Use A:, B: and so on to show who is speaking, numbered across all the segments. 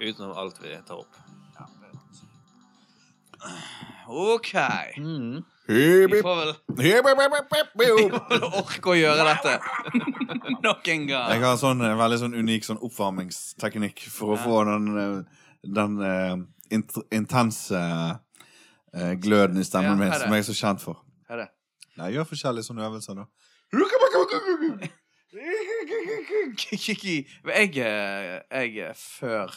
A: utenom alt vi tar opp.
B: OK.
A: Mm.
B: Vi
C: Hipp, hipp,
B: får vel,
C: hipp, hipp, hipp, hipp,
B: vi
C: hipp.
B: får vel orke å gjøre dette nok en gang.
C: Jeg har sånn eh, veldig sånn unik sånn oppvarmingsteknikk for å få den, eh, den eh, int- intense eh, gløden i
B: Ja,
C: stemmen min
B: er det?
C: som jeg er så kjent for.
B: Hva er det?
C: Nei, jeg gjør forskjellige sånne øvelser, da.
B: Kikki. Jeg, eh, jeg eh, før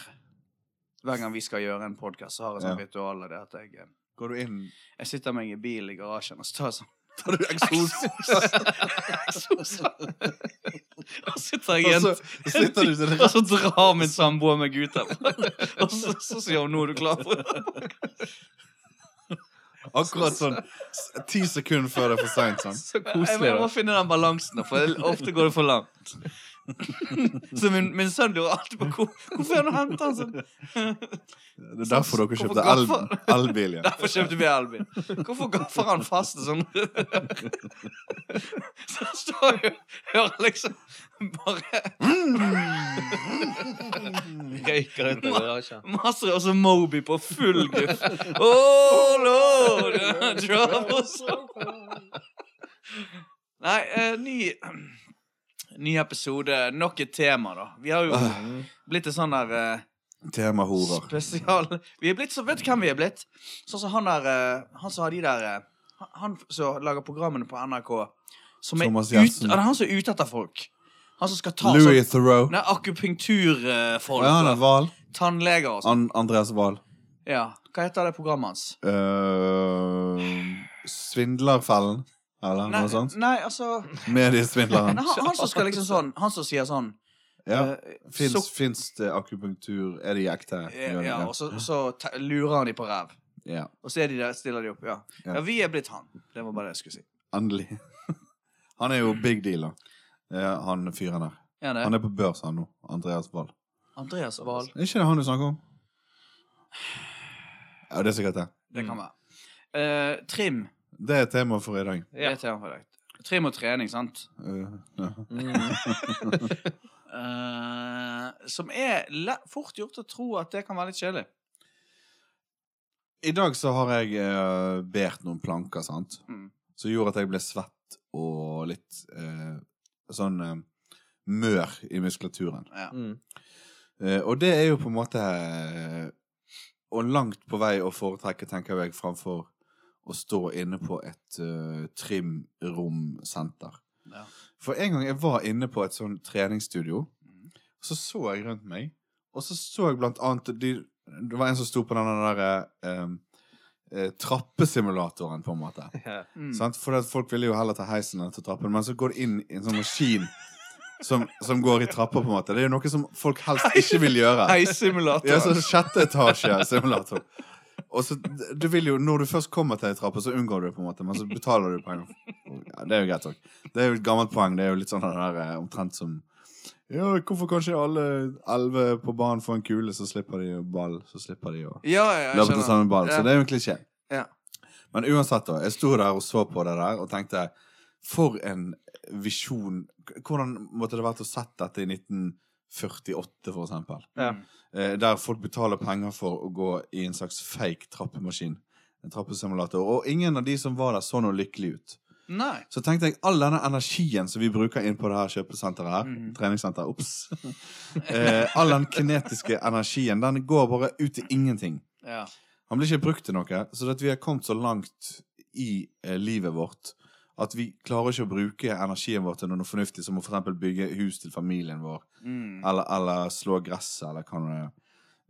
B: Hver gang vi skal gjøre en podkast, så har jeg sånn
C: Ja.
B: ritual av det at jeg, eh,
C: Går du inn
B: jeg sitter meg i bilen i garasjen og så tar jeg sånn
C: Tar du eksos?
B: sånn. Og sitter jeg
C: Og
B: igjen
C: så sitter du til det
B: Og så drar min samboer meg ut der. Og så, så sier hun 'nå er du klar for det'.
C: akkurat sånn s- ti sekunder før det er for seint. Sånn.
A: Så
B: Jeg, jeg må finne den balansen, for jeg- ofte går det for langt. Så min, min sønn lurer alltid på hvor, hvorfor han henter han sånn.
C: Det er derfor dere
B: Hvorfor
C: kjøpte el- elbil. ja.
B: Derfor kjøpte vi elbil. Hvorfor gaffer han fast sånn? Så han står og hører liksom bare
A: Røyker ut av garasjen.
B: Maser og så Moby på full guff. Oh lord, troubles. Nei, eh, ny Ny episode. Nok et tema, da. Vi har jo blitt et sånn der eh,
C: Temahorer.
B: spesial... Vi er blitt så Vet du hvem vi er blitt? Sånn som han der eh, Han som har de der eh, han- Han som lager programmene på NRK. Som er
C: Thomas
B: ut, ja,
C: Gjertsen.
B: det er han som er ute etter folk. Han som skal ta
C: Louis Theroux.
B: sånn Nei, akupunkturfolk.
C: Ja, han er Val.
B: tannleger og sånn.
C: An Andreas Wahl.
B: Ja. Hva heter det programmet hans?
C: Eh, Svindlerfellen, eller
B: Nei,
C: noe sånt?
B: nei altså
C: Mediesvindleren.
B: nei, han, han som skal liksom sånn Han som sier sånn
C: Ja.
B: eh,
C: Fins,
B: så-
C: fins det akupunktur? Er de ekte?
B: ja,
C: Gjør de
B: eh, ja,
C: det?
B: og så, så te- lurer han de på ræv.
C: ja.
B: Og så er de der, stiller de opp. Ja.
C: Ja.
B: ja, vi er blitt han. Det var bare det jeg skulle si.
C: Endelig. Han er jo big deal, da. Eh, Han fyren der.
B: Er det?
C: Han er på børs, han nå. Andreas Wahl.
B: Andreas Wahl.
C: Er ikke det han du snakker om? Ja, det er sikkert det.
B: Det kan være. Eh, trim.
C: Det er tema for i dag.
B: Det er tema for deg. Trim og trening, sant?
C: Eh, ja.
A: Mm,
B: Eh, som er le fort gjort å tro at det kan være litt kjedelig.
C: I dag så har jeg eh, bært noen planker, sant?
B: Mm.
C: Som gjorde at jeg ble svett og litt eh, sånn eh, mør i muskulaturen.
B: Ja.
A: Mm.
C: Eh, og det er jo på en måte eh, Og langt på vei å foretrekke, tenker jeg, framfor å stå inne på et eh, trimromsenter.
B: Ja.
C: For en gang jeg var inne på et sånn treningsstudio,
B: Mm.
C: så så jeg rundt meg, og så så jeg blant annet de, Det var en som sto på den der eh, eh, trappesimulatoren, på en måte.
A: Ja.
B: Mm.
C: Sant? For at folk ville jo heller ta heisen enn ta trappen, men så går det inn i en sånn maskin som, som går i trapper, på en måte. Det er jo noe som folk helst ikke vil gjøre.
B: Heisimulator.
C: Ja, så sjette etasje simulator. Og så, du vil jo, Når du først kommer til ei trappe, så unngår du det, på en måte, men så betaler du penger. Ja, det er jo greit nok. Det er jo et gammelt poeng. Det er jo litt sånn det der, eh, omtrent som ja, Hvorfor kan ikke alle elleve på banen få en kule, så slipper de jo ball? Så slipper de å
B: Ja, ja, jeg
C: løpe til samme ball. Så
B: Ja.
C: det er jo en klisjé.
B: Ja.
C: Men uansett, da. Jeg sto der og så på det der og tenkte For en visjon. Hvordan måtte det vært å sett dette i 1948, for eksempel?
A: Ja.
B: Mm.
C: Eh, der folk betaler penger for å gå i en slags fake trappemaskin. En trappesimulator. Og ingen av de som var der, så noe lykkelig ut.
B: Nei.
C: Så tenkte jeg all denne energien som vi bruker inn på det her kjøpesenteret her,
B: Mhm.
C: treningssenter, ops. eh, all den kinetiske energien, den går bare ut i ingenting.
B: Ja.
C: Han blir ikke brukt til noe, så at vi har kommet så langt i eh, livet vårt at vi klarer ikke å bruke energien vår til noe fornuftig, som å for eksempel bygge hus til familien vår,
B: Mm.
C: eller, eller slå gresset, eller hva nå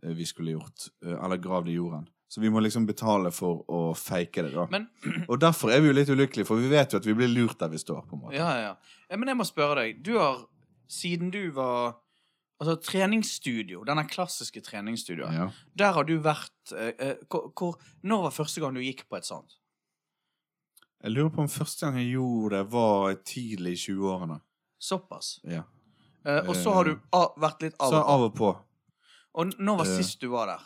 C: det er vi skulle gjort, eh, eller grav det i jorden. Så vi må liksom betale for å fake det, da.
B: Men
C: Og derfor er vi jo litt ulykkelige, for vi vet jo at vi blir lurt der vi står, på en måte.
B: Ja, ja. Eh, Men jeg må spørre deg. Du har, siden du var Altså, treningsstudio, denne klassiske treningsstudioen,
C: Ja.
B: der har du vært eh, eh, hvor, hvor, Når var første gang du gikk på et sånt?
C: Jeg lurer på om første gang jeg gjorde det, var tidlig i 20-årene.
B: Såpass.
C: Ja.
B: Eh, og så har du a, vært litt av
C: Så av og på.
B: Og n- når var
C: Eh.
B: sist du var der?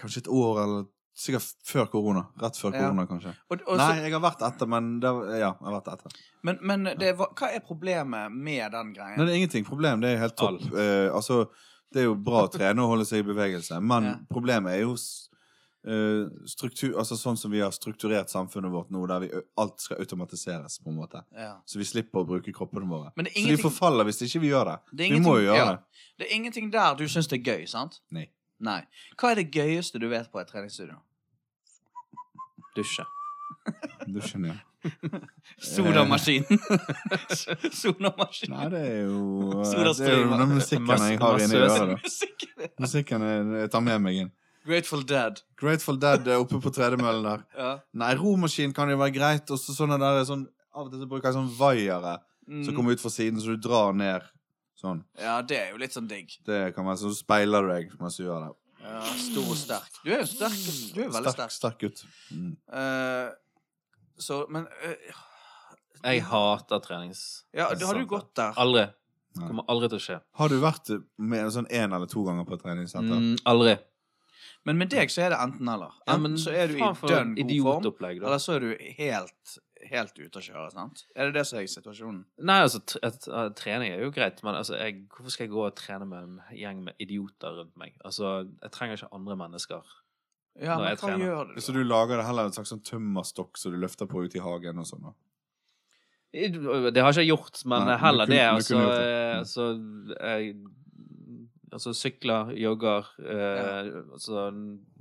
C: Kanskje et år, eller sikkert før korona. Rett før
B: Ja.
C: korona, kanskje.
B: Og, og
C: Nei, jeg har vært etter, men det, var- ja, jeg har vært etter.
B: Så, men men det, var- hva er problemet med den
C: Nei,
B: greien?
C: det er ingenting problem. Det er helt topp. Eh, altså, Det er jo bra å trene og holde seg i bevegelse, men
B: Ja.
C: problemet er jo s- eh, struktur, altså sånn som vi har strukturert samfunnet vårt nå, der vi, ø- alt skal automatiseres, på en måte.
B: Ja.
C: Så vi slipper å bruke kroppene våre.
B: Men det
C: Så
B: er
C: de
B: ingenting-
C: forfaller hvis ikke vi gjør det.
B: Det er
C: vi må
B: ingenting-
C: jo gjøre
B: ja.
C: det.
B: Det er ingenting der du syns det er gøy, sant?
C: Nei. Eh.
B: Nei. Hva er det gøyeste du vet på et treningsstudio?
A: Dusje.
C: Du skjønner jeg.
B: Sodamaskinen. Sodamaskinen.
C: Nei, det er jo eh,
B: Soda
C: Det er jo den musikken jeg har inni
A: Masse-
C: øret. da.
B: Musikken.
C: Musikken jeg jeg tar med meg inn.
B: Grateful Dead.
C: Grateful Dead er oppe på tredemøllen der.
B: Ja.
C: Nei, romaskin kan jo være greit. Og så sånne der sånn Av og til så bruker jeg sånn vaiere
B: Mm.
C: som kommer ut fra siden, så du drar ned sånn.
B: ja, det er jo litt sånn digg.
C: Det kan være sånn, så speiler du deg mens du gjør det.
B: Ja, stor og sterk. Du er jo sterk. Du er jo veldig sterk.
C: Sterk gutt. Mm.
B: Eh, så, men eh,
A: Jeg hater trenings...
B: Ja, har du gått der?
A: Aldri.
C: Nei.
A: Kommer aldri til å skje.
C: Har du vært med sånn én eller to ganger på et treningssenter?
A: Mm, aldri. Mm.
B: Men med deg så er det enten-eller. Enten så er du i
A: faen for
B: dønn god form,
A: idiotopplegg, da.
B: eller så er du helt, helt ute å kjøre. sant? Er det det som er situasjonen?
A: Nei, altså, t- at- at trening er jo greit, men altså, jeg, hvorfor skal jeg gå og trene med en gjeng med idioter rundt meg? Altså, jeg trenger ikke andre mennesker.
B: Ja,
A: Når
B: men
A: jeg
B: hva
A: trener.
B: gjør du? da?
C: Så du lager det heller en slags sånn tømmerstokk som du løfter på ute i hagen og sånn? da?
A: I- Det har jeg ikke gjort,
C: Nei,
A: men
C: men
A: heller
C: du kunne- du
A: det. Altså,
C: kunne gjort det.
A: eh,
C: Mm.
A: altså, jeg, altså sykler, jogger eh, altså,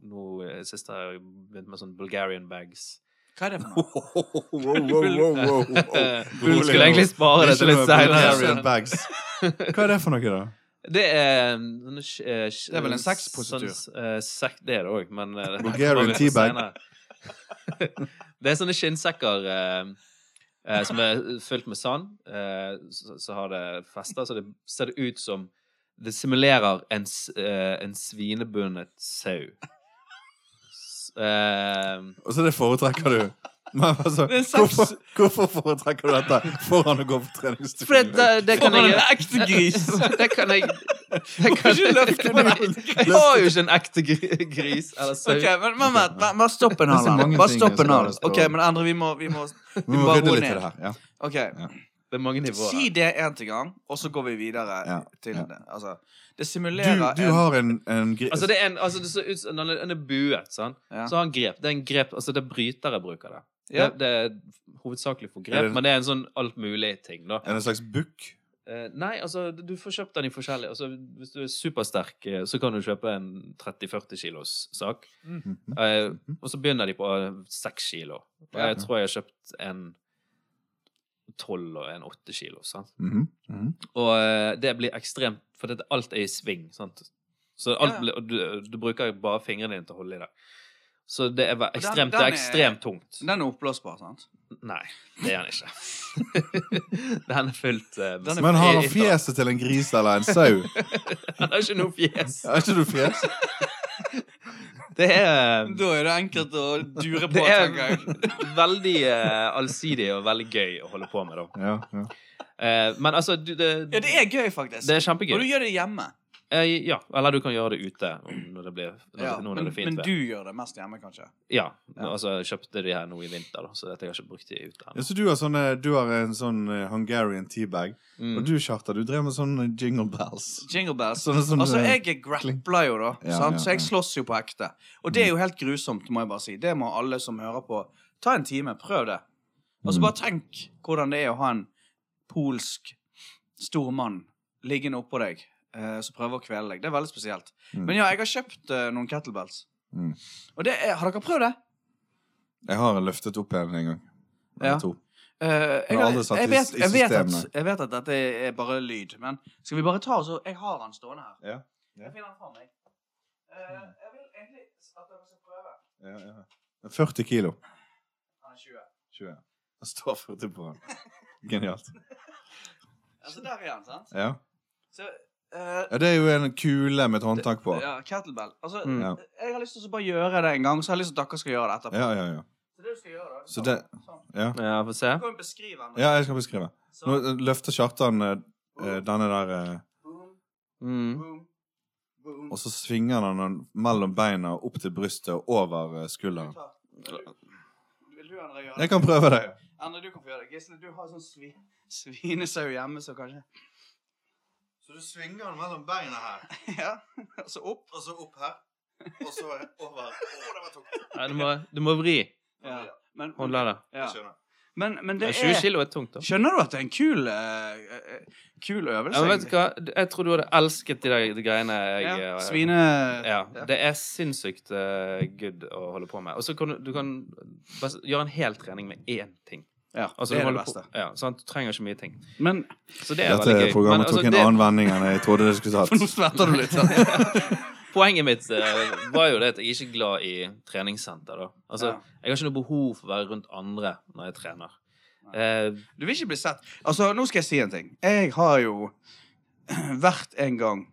A: Nå eh, sist har jeg begynt med sånn Bulgarian bags.
B: Hva er det for noe?
C: Wow, wow, wow, wow, wow.
A: Du Eh, skulle egentlig spare det
C: Ikke
A: til litt
C: noe Bulgarian
A: seinere.
C: bags. Hva er det for noe, da?
A: Det er sånne sk- eh, sk-
B: Det er vel en sexpositur?
A: sånn, eh, sek- det er det òg, men eh, det
C: Bulgarian
A: kommer vi til
C: teabag.
A: senere. det er sånne skinnsekker eh, eh, som er fylt med sand. eh, så, så har det fester, så det ser det ut som Det simulerer en, s- eh, en svinebundet sau. S- eh,
C: Og så det foretrekker du. Men altså,
B: Det er sex.
C: hvorfor, hvorfor foretrekker du dette foran å gå på
A: for det, det,
B: eh,
C: treningsstudio?
A: det kan
B: Foran
A: jeg
B: en ekte gris.
A: Det kan jeg det kan
B: ikke løfte
A: jeg, jeg har jo ikke en ekte gri- gris eller sau.
B: Ok, men, men, men, men bare stopp en
C: Det er
B: hal.
C: så mange
B: Erlend. Bare
C: ting
B: stopp
C: som
B: en hal.
C: skal stå.
B: Ok, men andre, vi må, vi må
C: Vi må
B: bare
C: rydde
B: roe
C: litt i
B: ned.
C: det her. Ja.
B: Ok,
A: Det er mange nivåer.
B: si det en til gang, og så går vi videre
C: Ja,
B: til
C: ja.
B: det. Altså,
C: Du,
B: det simulerer
C: du
B: en
C: har en, en gris
A: Altså, det er en, altså, det ser ut som den er- den er buet, sant?
B: Ja.
A: Så har han grep. Det er en grep, altså det er brytere bruker det.
B: Ja.
A: Det, det er hovedsakelig
C: Er
A: for grep,
C: det-
A: men det er en sånn alt mulig ting, da.
C: Er det en slags bukk?
A: Eh, nei, altså, du får kjøpt den i forskjellige altså, Hvis du er supersterk, eh, så kan du kjøpe en 30-40 kilos sak.
B: Mm.
C: Mhm,
A: Eh, og så begynner de på eh, 6 kilo. Og jeg
C: Ja.
A: tror jeg har kjøpt en 12 og en 8 kilo, sant?
C: Mhm, mhm.
A: Og eh, det blir ekstremt For det, alt er i sving. Sant? Så alt,
B: Ja.
A: blir- og du, du bruker bare fingrene dine til å holde i det. Så det er ve-
B: den- den
A: ekstremt, det
B: er-
A: er ekstremt tungt.
B: Den er oppblåsbar, sant?
A: Nei, det er den ikke. den er fullt eh, med-
B: Den er-
C: Men har han
A: i- i-
C: fjeset til en gris eller en sau?
A: Han har ikke noe fjes.
C: Har ikke du fjes?
A: Det er
B: Da er det enkelt å dure på,
A: det er
B: tenker jeg.
A: veldig eh, allsidig og veldig gøy å holde på med, da.
C: Ja, ja.
A: Eh, men altså du, det,
B: Ja, det er gøy, faktisk.
A: det er kjempegøy.
B: Og du gjør det hjemme.
A: Eh, ja, eller du kan gjøre det ute om- når det blir når
B: Ja,
A: det, nå når
B: men,
A: det er fint
B: men
A: vær.
B: du gjør det mest hjemme, kanskje.
A: Ja.
B: Ja.
A: Altså, jeg kjøpte de her nå i vinter, da, så dette jeg har ikke brukt de ute
C: ja
A: ennå.
C: så du har, sånne, du har en sånn eh, Hungarian teabag. Og
A: Mm.
C: du, Kjartan, du drev med sånne jingle bells.
B: Jingle bells.
C: Sånne som
B: Altså,
C: eh,
B: jeg er grappler jo, da.
C: Ja,
B: sant?
C: ja,
B: Så jeg
C: ja.
B: slåss jo på ekte. Og det er jo helt grusomt, må jeg bare si. Det må alle som hører på. Ta en time, prøv det. Og så
C: Mm.
B: bare tenk hvordan det er å ha en polsk stor mann liggende oppå deg eh, som prøver å kvele deg. Det er veldig spesielt.
C: Mm.
B: Men ja, jeg har kjøpt eh, noen kettlebells.
C: Mm.
B: Og det er, har dere prøvd det?
C: Jeg har løftet opp en en gang. Eller
B: Ja.
C: To.
B: Eh, jeg,
C: har aldri
B: har-
C: satt
B: jeg,
C: i-
B: vet,
C: i
B: jeg, vet at,
C: systemene.
B: jeg vet at dette er bare lyd, men skal vi bare ta oss og Jeg har den stående her.
C: Ja. Ja.
B: Jeg finner den fra meg. Eh, jeg vil egentlig at dere skal prøve.
C: Ja, ja. 40 kilo.
B: Han er 20.
C: 20. Det står 40 på den. Genialt.
B: Altså, der er han, sant?
C: Ja.
B: Så eh,
C: ja, det er jo en kule med et håndtak på.
B: Ja, kettlebell. Altså,
A: Mm.
C: Ja.
B: jeg har lyst til å bare gjøre det en gang, så jeg har lyst til at dere skal gjøre det etterpå.
C: Ja, ja, ja.
B: Så det du skal gjøre, da
C: Så det-
B: Sånn.
C: ja.
A: Ja, få se.
B: Du kan jo beskrive den. da.
C: ja jeg skal beskrive. Nå
B: Sånn.
C: eh, løfter Kjartan eh, eh, denne der eh,
B: Boom,
A: Mm.
B: boom, boom.
C: Og så svinger han den mellom beina opp til brystet og over eh, skulderen.
B: Klar. Vil du- Vil du, André, gjøre det?
C: Jeg kan prøve det.
B: Endre, du kan få gjøre det. Gisle, du har sånn svi svinesau hjemme, så kanskje
D: Så du svinger den mellom beina her,
B: Ja, altså opp.
D: og så opp her, og så over. Å, det var tungt.
A: Nei, du, må, du må vri
B: Ja. Men,
A: håndleddet.
B: ja.
D: Jeg skjønner.
B: men, men det
A: Ja, 20
B: er
A: kilo er tungt, da.
B: Skjønner du at det er en kul, eh, eh, kul øvelse?
A: Ja, men vet du hva? Jeg tror du hadde elsket de der greiene jeg
B: Ja,
A: eh,
B: Svine...
A: Ja, det er sinnssykt eh, good å holde på med. Og så kan du, du kan bare s- gjøre en hel trening med én ting.
B: Ja, det
A: Altså, du
B: er det
A: holder
B: beste.
A: På, ja, sant? Du trenger ikke mye ting.
B: Men
A: Så det er veldig
C: Dette
A: gøy. Men,
C: programmet
A: altså,
C: tok en
A: det-
C: annen vending enn jeg trodde det skulle
B: For nå
C: tatt.
B: svetter du litt. sant?
A: Poenget mitt eh, var jo det at jeg er ikke glad i treningssenter, da. Altså,
B: Ja.
A: jeg har ikke noe behov for å være rundt andre når jeg trener. Eh,
B: Du vil ikke bli sett. Altså, nå skal jeg si en ting. Jeg har jo vært en gang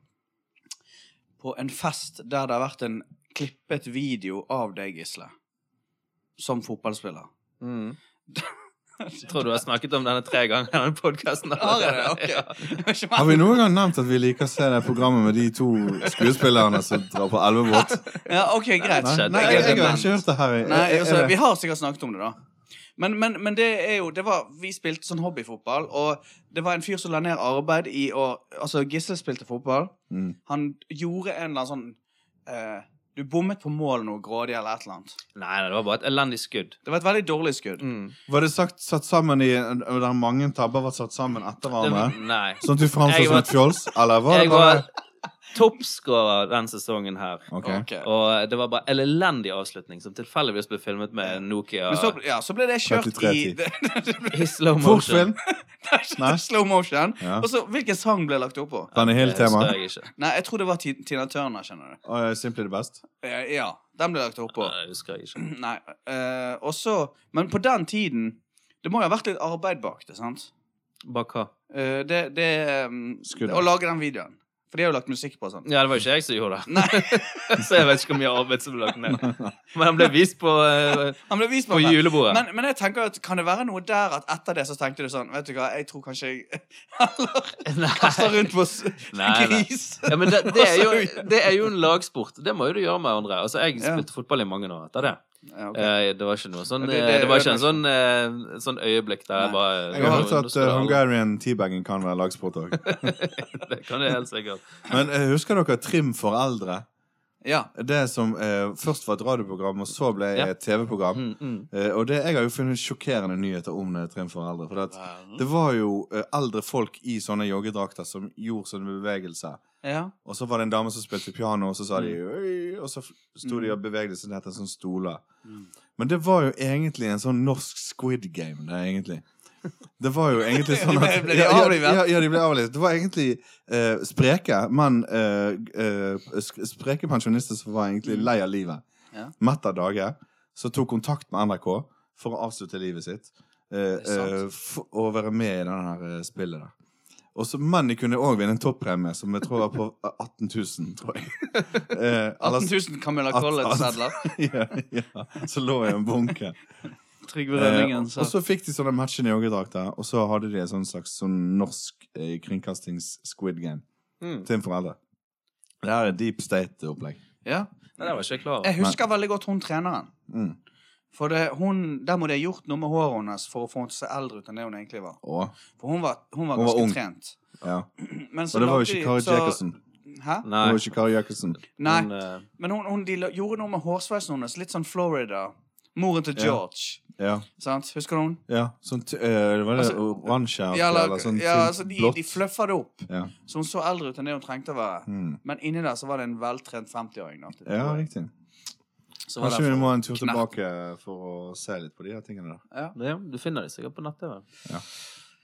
B: på en fest der det har vært en klippet video av deg, Gisle. Som fotballspiller.
A: jeg tror du har snakket om denne tre ganger i denne podkasten.
B: Har jeg det? Ok. Det var ikke
C: Har
B: meg.
C: vi noen gang nevnt at vi liker å se det programmet med de to skuespillerne som drar på elvebåt?
B: Ja, OK, greit.
A: Nei,
C: Nei,
A: det
C: nei jeg,
A: er
C: jeg har
A: dement.
C: ikke hørt det her. i-
B: Nei,
C: er- er
B: altså,
C: det-
B: vi har sikkert snakket om det, da. Men, men, men det er jo det var, Vi spilte sånn hobbyfotball, og det var en fyr som la ned arbeid i å Altså, Gisle spilte fotball.
C: Mm.
B: Han gjorde en eller annen sånn eh, Du bommet på mål noe grådig eller et eller annet.
A: Nei, nei, det var bare et elendig skudd.
B: Det var et veldig dårlig skudd.
A: Mm.
C: Var det sagt, satt sammen i Der mange tabber var satt sammen etter hverandre?
A: Nei.
C: Sånn at du
A: Jeg
C: framstår som
A: var-
C: et fjols? Eller var det
A: Jeg var
C: bare
A: toppskårer den sesongen her.
C: Ok.
B: Ok.
A: Og eh, det var bare en elendig avslutning, som tilfeldigvis ble filmet med en Nokia
B: Men så, ja, så ble det kjørt
C: 33
B: i det,
A: i slow motion.
C: Fortfilm?
B: det,
C: Nei.
B: slow motion.
C: Ja.
B: Og så, Hvilken sang ble lagt opp på?
C: Den er helt
A: Det så
C: tema.
A: jeg ikke.
B: Nei, jeg tror det var Ti- Tina Turner, skjønner du.
C: Og Simply the best.
B: Eh, ja, den ble lagt opp på.
A: Nei, det husker jeg ikke.
B: Nei, eh, og så Men på den tiden Det må jo ha vært litt arbeid bak det, sant?
A: Bak hva?
B: Eh, det det um,
C: Skuddet.
B: Å lage den videoen. For de har jo lagt musikk på og sånn.
A: Ja, det var ikke jeg som gjorde det.
B: Nei,
A: Så jeg vet ikke hvor mye arbeid som ble lagt ned. Men han ble vist på, eh,
B: han ble vist
A: på
B: meg.
A: julebordet.
B: Men, men jeg tenker at kan det være noe der at etter det så tenkte du sånn Vet du hva, jeg tror kanskje jeg heller kaster
A: Nei.
B: rundt på s-
A: Nei, nei.
B: gris.
A: Ja, men det, det, er jo, det er jo en lagsport. Det må jo du gjøre med andre. Altså, jeg
B: Altså, Ja.
A: spilte fotball i mange år etter det.
B: Ja, ok.
A: Eh, Det var ikke noe sånn
B: Ja, det-
A: eh,
B: det
A: Det var ikke en
B: ødelegger.
A: sånn, eh, sånn øyeblikk der jeg
B: Nei.
A: bare
C: Jeg har hørt
A: Nå
C: at
A: skal
C: eh,
A: alle-
C: Hungarian teabagging kan være lagsport òg.
A: Det kan jeg helt sikkert.
C: Men eh, husker dere Trim for eldre?
B: ja.
C: Det som eh, først var et radioprogram, og så ble
A: Ja.
C: et TV-program.
A: Mm, mm.
C: Eh, og det, jeg har jo funnet sjokkerende nyheter om eh, Trim for eldre. For det, at det var jo eh, eldre folk i sånne joggedrakter som gjorde sånne bevegelser.
B: ja.
C: Og så var det en dame som spilte piano, og så sa de
B: Mm.
C: «Øy», Og så f- sto de og bevegde seg ned til en sånn stole.
B: Mm.
C: Men det var jo egentlig en sånn norsk squid game, det er egentlig. Det var jo egentlig sånn at
B: Ble de
C: Ja, ja,
B: avlivet?
C: Ja, ja, de ble avlivet. Det var egentlig eh, spreke, men eh, eh, sk- spreke pensjonister som var egentlig lei av livet.
B: Mm. Ja.
C: Mett av dage. Så tok kontakt med NRK for å avslutte livet sitt. eh,
B: Det er sant.
C: eh, for å være med i det her eh, spillet der. Og så, men de kunne òg vinne en toppremie, som jeg tror var på 18 000, tror jeg. Eh,
B: 18
C: ellers-
B: 000 Camilla
C: at-
B: Collett-sedler.
C: ja, ja. Så lå jeg i en bunke.
B: Trygve
C: Eh,
B: Rønningen.
C: og så fikk de sånne matchende joggedrakter, og så hadde de en sånn slags sånn norsk eh, kringkastings-squid game
A: Mm.
B: Hmm.
C: til en forelder. Det her er deep state-opplegg.
B: Ja.
A: Nei, Det var ikke jeg klar over.
B: Jeg husker veldig godt hun treneren.
C: Mm.
B: For det, hun, der må de ha gjort noe med håret hennes for å få henne til å se eldre ut enn det hun egentlig var.
C: Og,
B: For hun var, hun var
C: Hun var
B: ganske
C: ung.
B: trent.
C: ja.
B: Men
C: og det var jo
B: lagde de-
C: ikke Kari
B: så-
C: Jacobsen.
B: Hæ?
C: Det
A: Nei.
C: var jo ikke Kari Jacobsen.
B: Nei,
A: Men, eh,
B: men hun, hun, de la- gjorde noe med hårsveisen hennes. Litt sånn Florida. Moren til
C: Ja.
B: George.
C: Ja.
B: Sant? Husker du hun?
C: ja. Sånn t eh, var det
B: Altså,
C: oransje
B: Ja, la-
C: eller sånn
B: ja,
C: tynt
B: altså, de,
C: blått.
B: de fluffa det opp,
C: Ja.
B: så hun så eldre ut enn det hun trengte å være.
C: Mm.
B: Men inni der så var det en veltrent 50-åring. da.
C: ja, riktig.
B: Så var
C: Kanskje
B: det
C: vi
B: for-
C: må en tur
B: knert.
C: tilbake for å se litt på de her tingene der.
A: ja, du finner det sikkert på nett-TV.
C: Ja.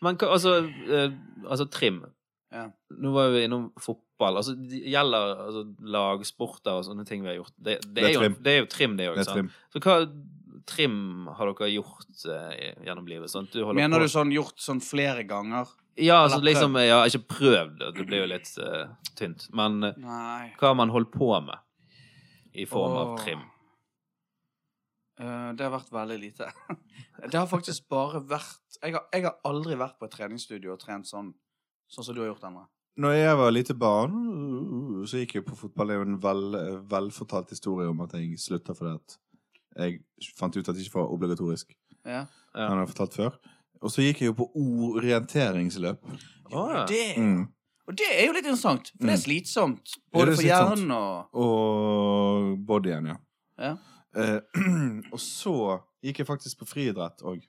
A: Men hva- altså, eh, altså trim.
B: Ja.
A: Nå var vi innom fotball. Altså, det gjelder altså, lagsporter og sånne ting vi har gjort. Det, det,
C: er
A: er, jo,
C: trim.
A: det er jo trim, det
C: Det
A: òg.
C: er trim.
A: Så hva trim har dere gjort eh, gjennom livet? Sånn, at du holder
B: Mener
A: på.
B: du sånn gjort sånn flere ganger?
A: Ja, altså,
B: Eller prøvd?
A: liksom, jeg har ikke prøvd, og det blir jo litt eh, tynt. Men eh,
B: Nei.
A: hva har man holdt på med i form av
B: Åh.
A: trim?
B: Eh, det har vært veldig lite. det har faktisk bare vært jeg har, jeg har aldri vært på et treningsstudio og trent sånn Sånn som du har gjort, Endre.
C: Når jeg var lite barn, så gikk jeg på fotball. Det er jo en vel, velfortalt historie om at jeg slutta fordi at jeg fant ut at det ikke var obligatorisk.
B: Ja.
A: Ja.
C: Den har jeg fortalt før. Og så gikk jeg jo på orienteringsløp.
A: Åh, ja.
B: Det
C: Mm.
B: Og det er jo litt interessant, for det er slitsomt.
C: Ja,
B: Både
C: det er
B: for
C: slitsomt.
B: hjernen og
C: Og bodyen, ja.
B: Ja.
C: Eh, og så gikk jeg faktisk på friidrett òg.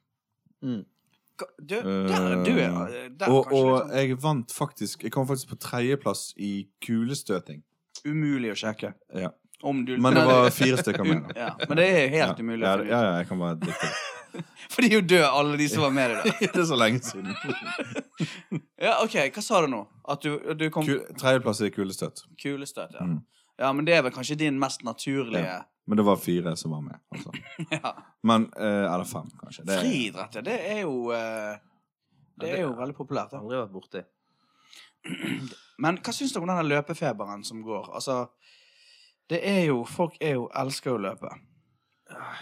B: Ka- Du, der er du, ja. Der,
C: Og, Eh,
B: kanskje
C: og
B: litt sånn
C: jeg vant faktisk Jeg kom faktisk på tredjeplass i kulestøting.
B: Umulig å sjekke.
C: Ja.
B: Om du
C: Men det var fire stykker med. da.
B: ja, Men det er helt
C: Ja.
B: umulig.
C: Ja,
B: å
C: det- ja,
B: finne ut.
C: ja, jeg kan bare drite det.
B: For de er jo døde, alle de som var med deg der.
C: Det er så lenge siden.
B: Ja, OK, hva sa du nå? At du, du kom
C: Ku- Tredjeplass i kulestøt.
B: Kulestøt, ja.
C: Mm.
B: Ja, men det er vel kanskje din mest naturlige
C: Men det var fire som var med. Altså.
B: ja.
C: Men eh, Eller fem, kanskje. Det er-
B: Friidrett, ja. Det er jo eh, Det
A: Ja, det-
B: er jo veldig populært.
A: Jeg
B: Da.
A: har aldri vært borti.
B: Men hva syns du om denne løpefeberen som går? Altså, det er jo Folk er jo elsker jo å løpe.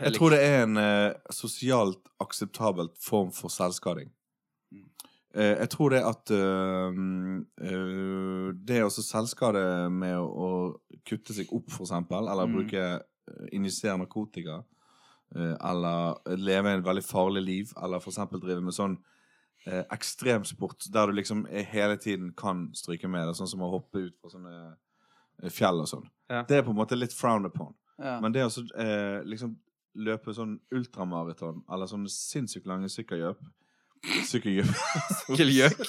C: Jeg tror det er en eh, sosialt akseptabelt form for selvskading.
B: Mm.
C: Eh, jeg tror det at eh, mm, eh, Det å så selvskade med å, å kutte seg opp, for eksempel, eller
B: Mm.
C: bruke eh, injisere narkotika, eh, eller leve et veldig farlig liv, eller for eksempel drive med sånn eh, ekstremsport der du liksom er- hele tiden kan stryke med, det, sånn som å hoppe ut fra sånne eh, fjell og sånn.
A: Ja.
C: Det er på en måte litt frowned upon.
B: Ja.
C: Men det å så, eh, liksom løpe sånn ultramaraton, eller sånn sinnssykt lange sykkelgjøp Sykkelgjøp
A: Sykkelgjøk?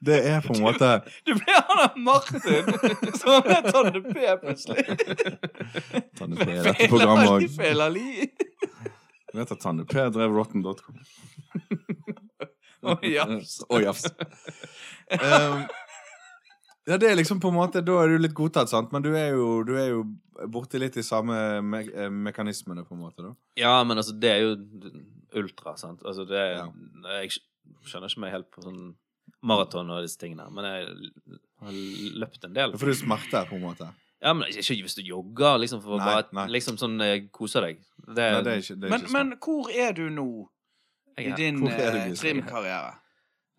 C: Det er på en måte
B: Du ble han av Martin som var med Tanne P plutselig.
C: Tanne P i dette programmet
B: Feiler-
C: òg.
B: feiler li.
C: Vet at Tanne P drev rotten.com.
B: Å, ja.
C: Og jafs. Ehm, ja, det er liksom på en måte Da er du litt godtatt, sant? Men du er jo, du er jo borti litt de samme me eh, mekanismene, på en måte, da.
A: Ja, men altså, det er jo ultra, sant. Altså, det er, Jeg skj- skjønner ikke meg helt på sånn maraton og disse tingene, men jeg l- har løpt en del.
C: For det er smerte, på en måte.
A: Ja, men ikke ikke hvis du jogger, liksom, for å
C: Nei,
A: bare
C: nei.
A: liksom sånn eh, kose deg. Det,
C: Nei, det er ikke, det er
B: Men,
C: ikke
B: men hvor er du nå i
A: jeg er-
B: din
C: Hvor er du,
B: eh,
C: Gisle?
B: trimkarriere?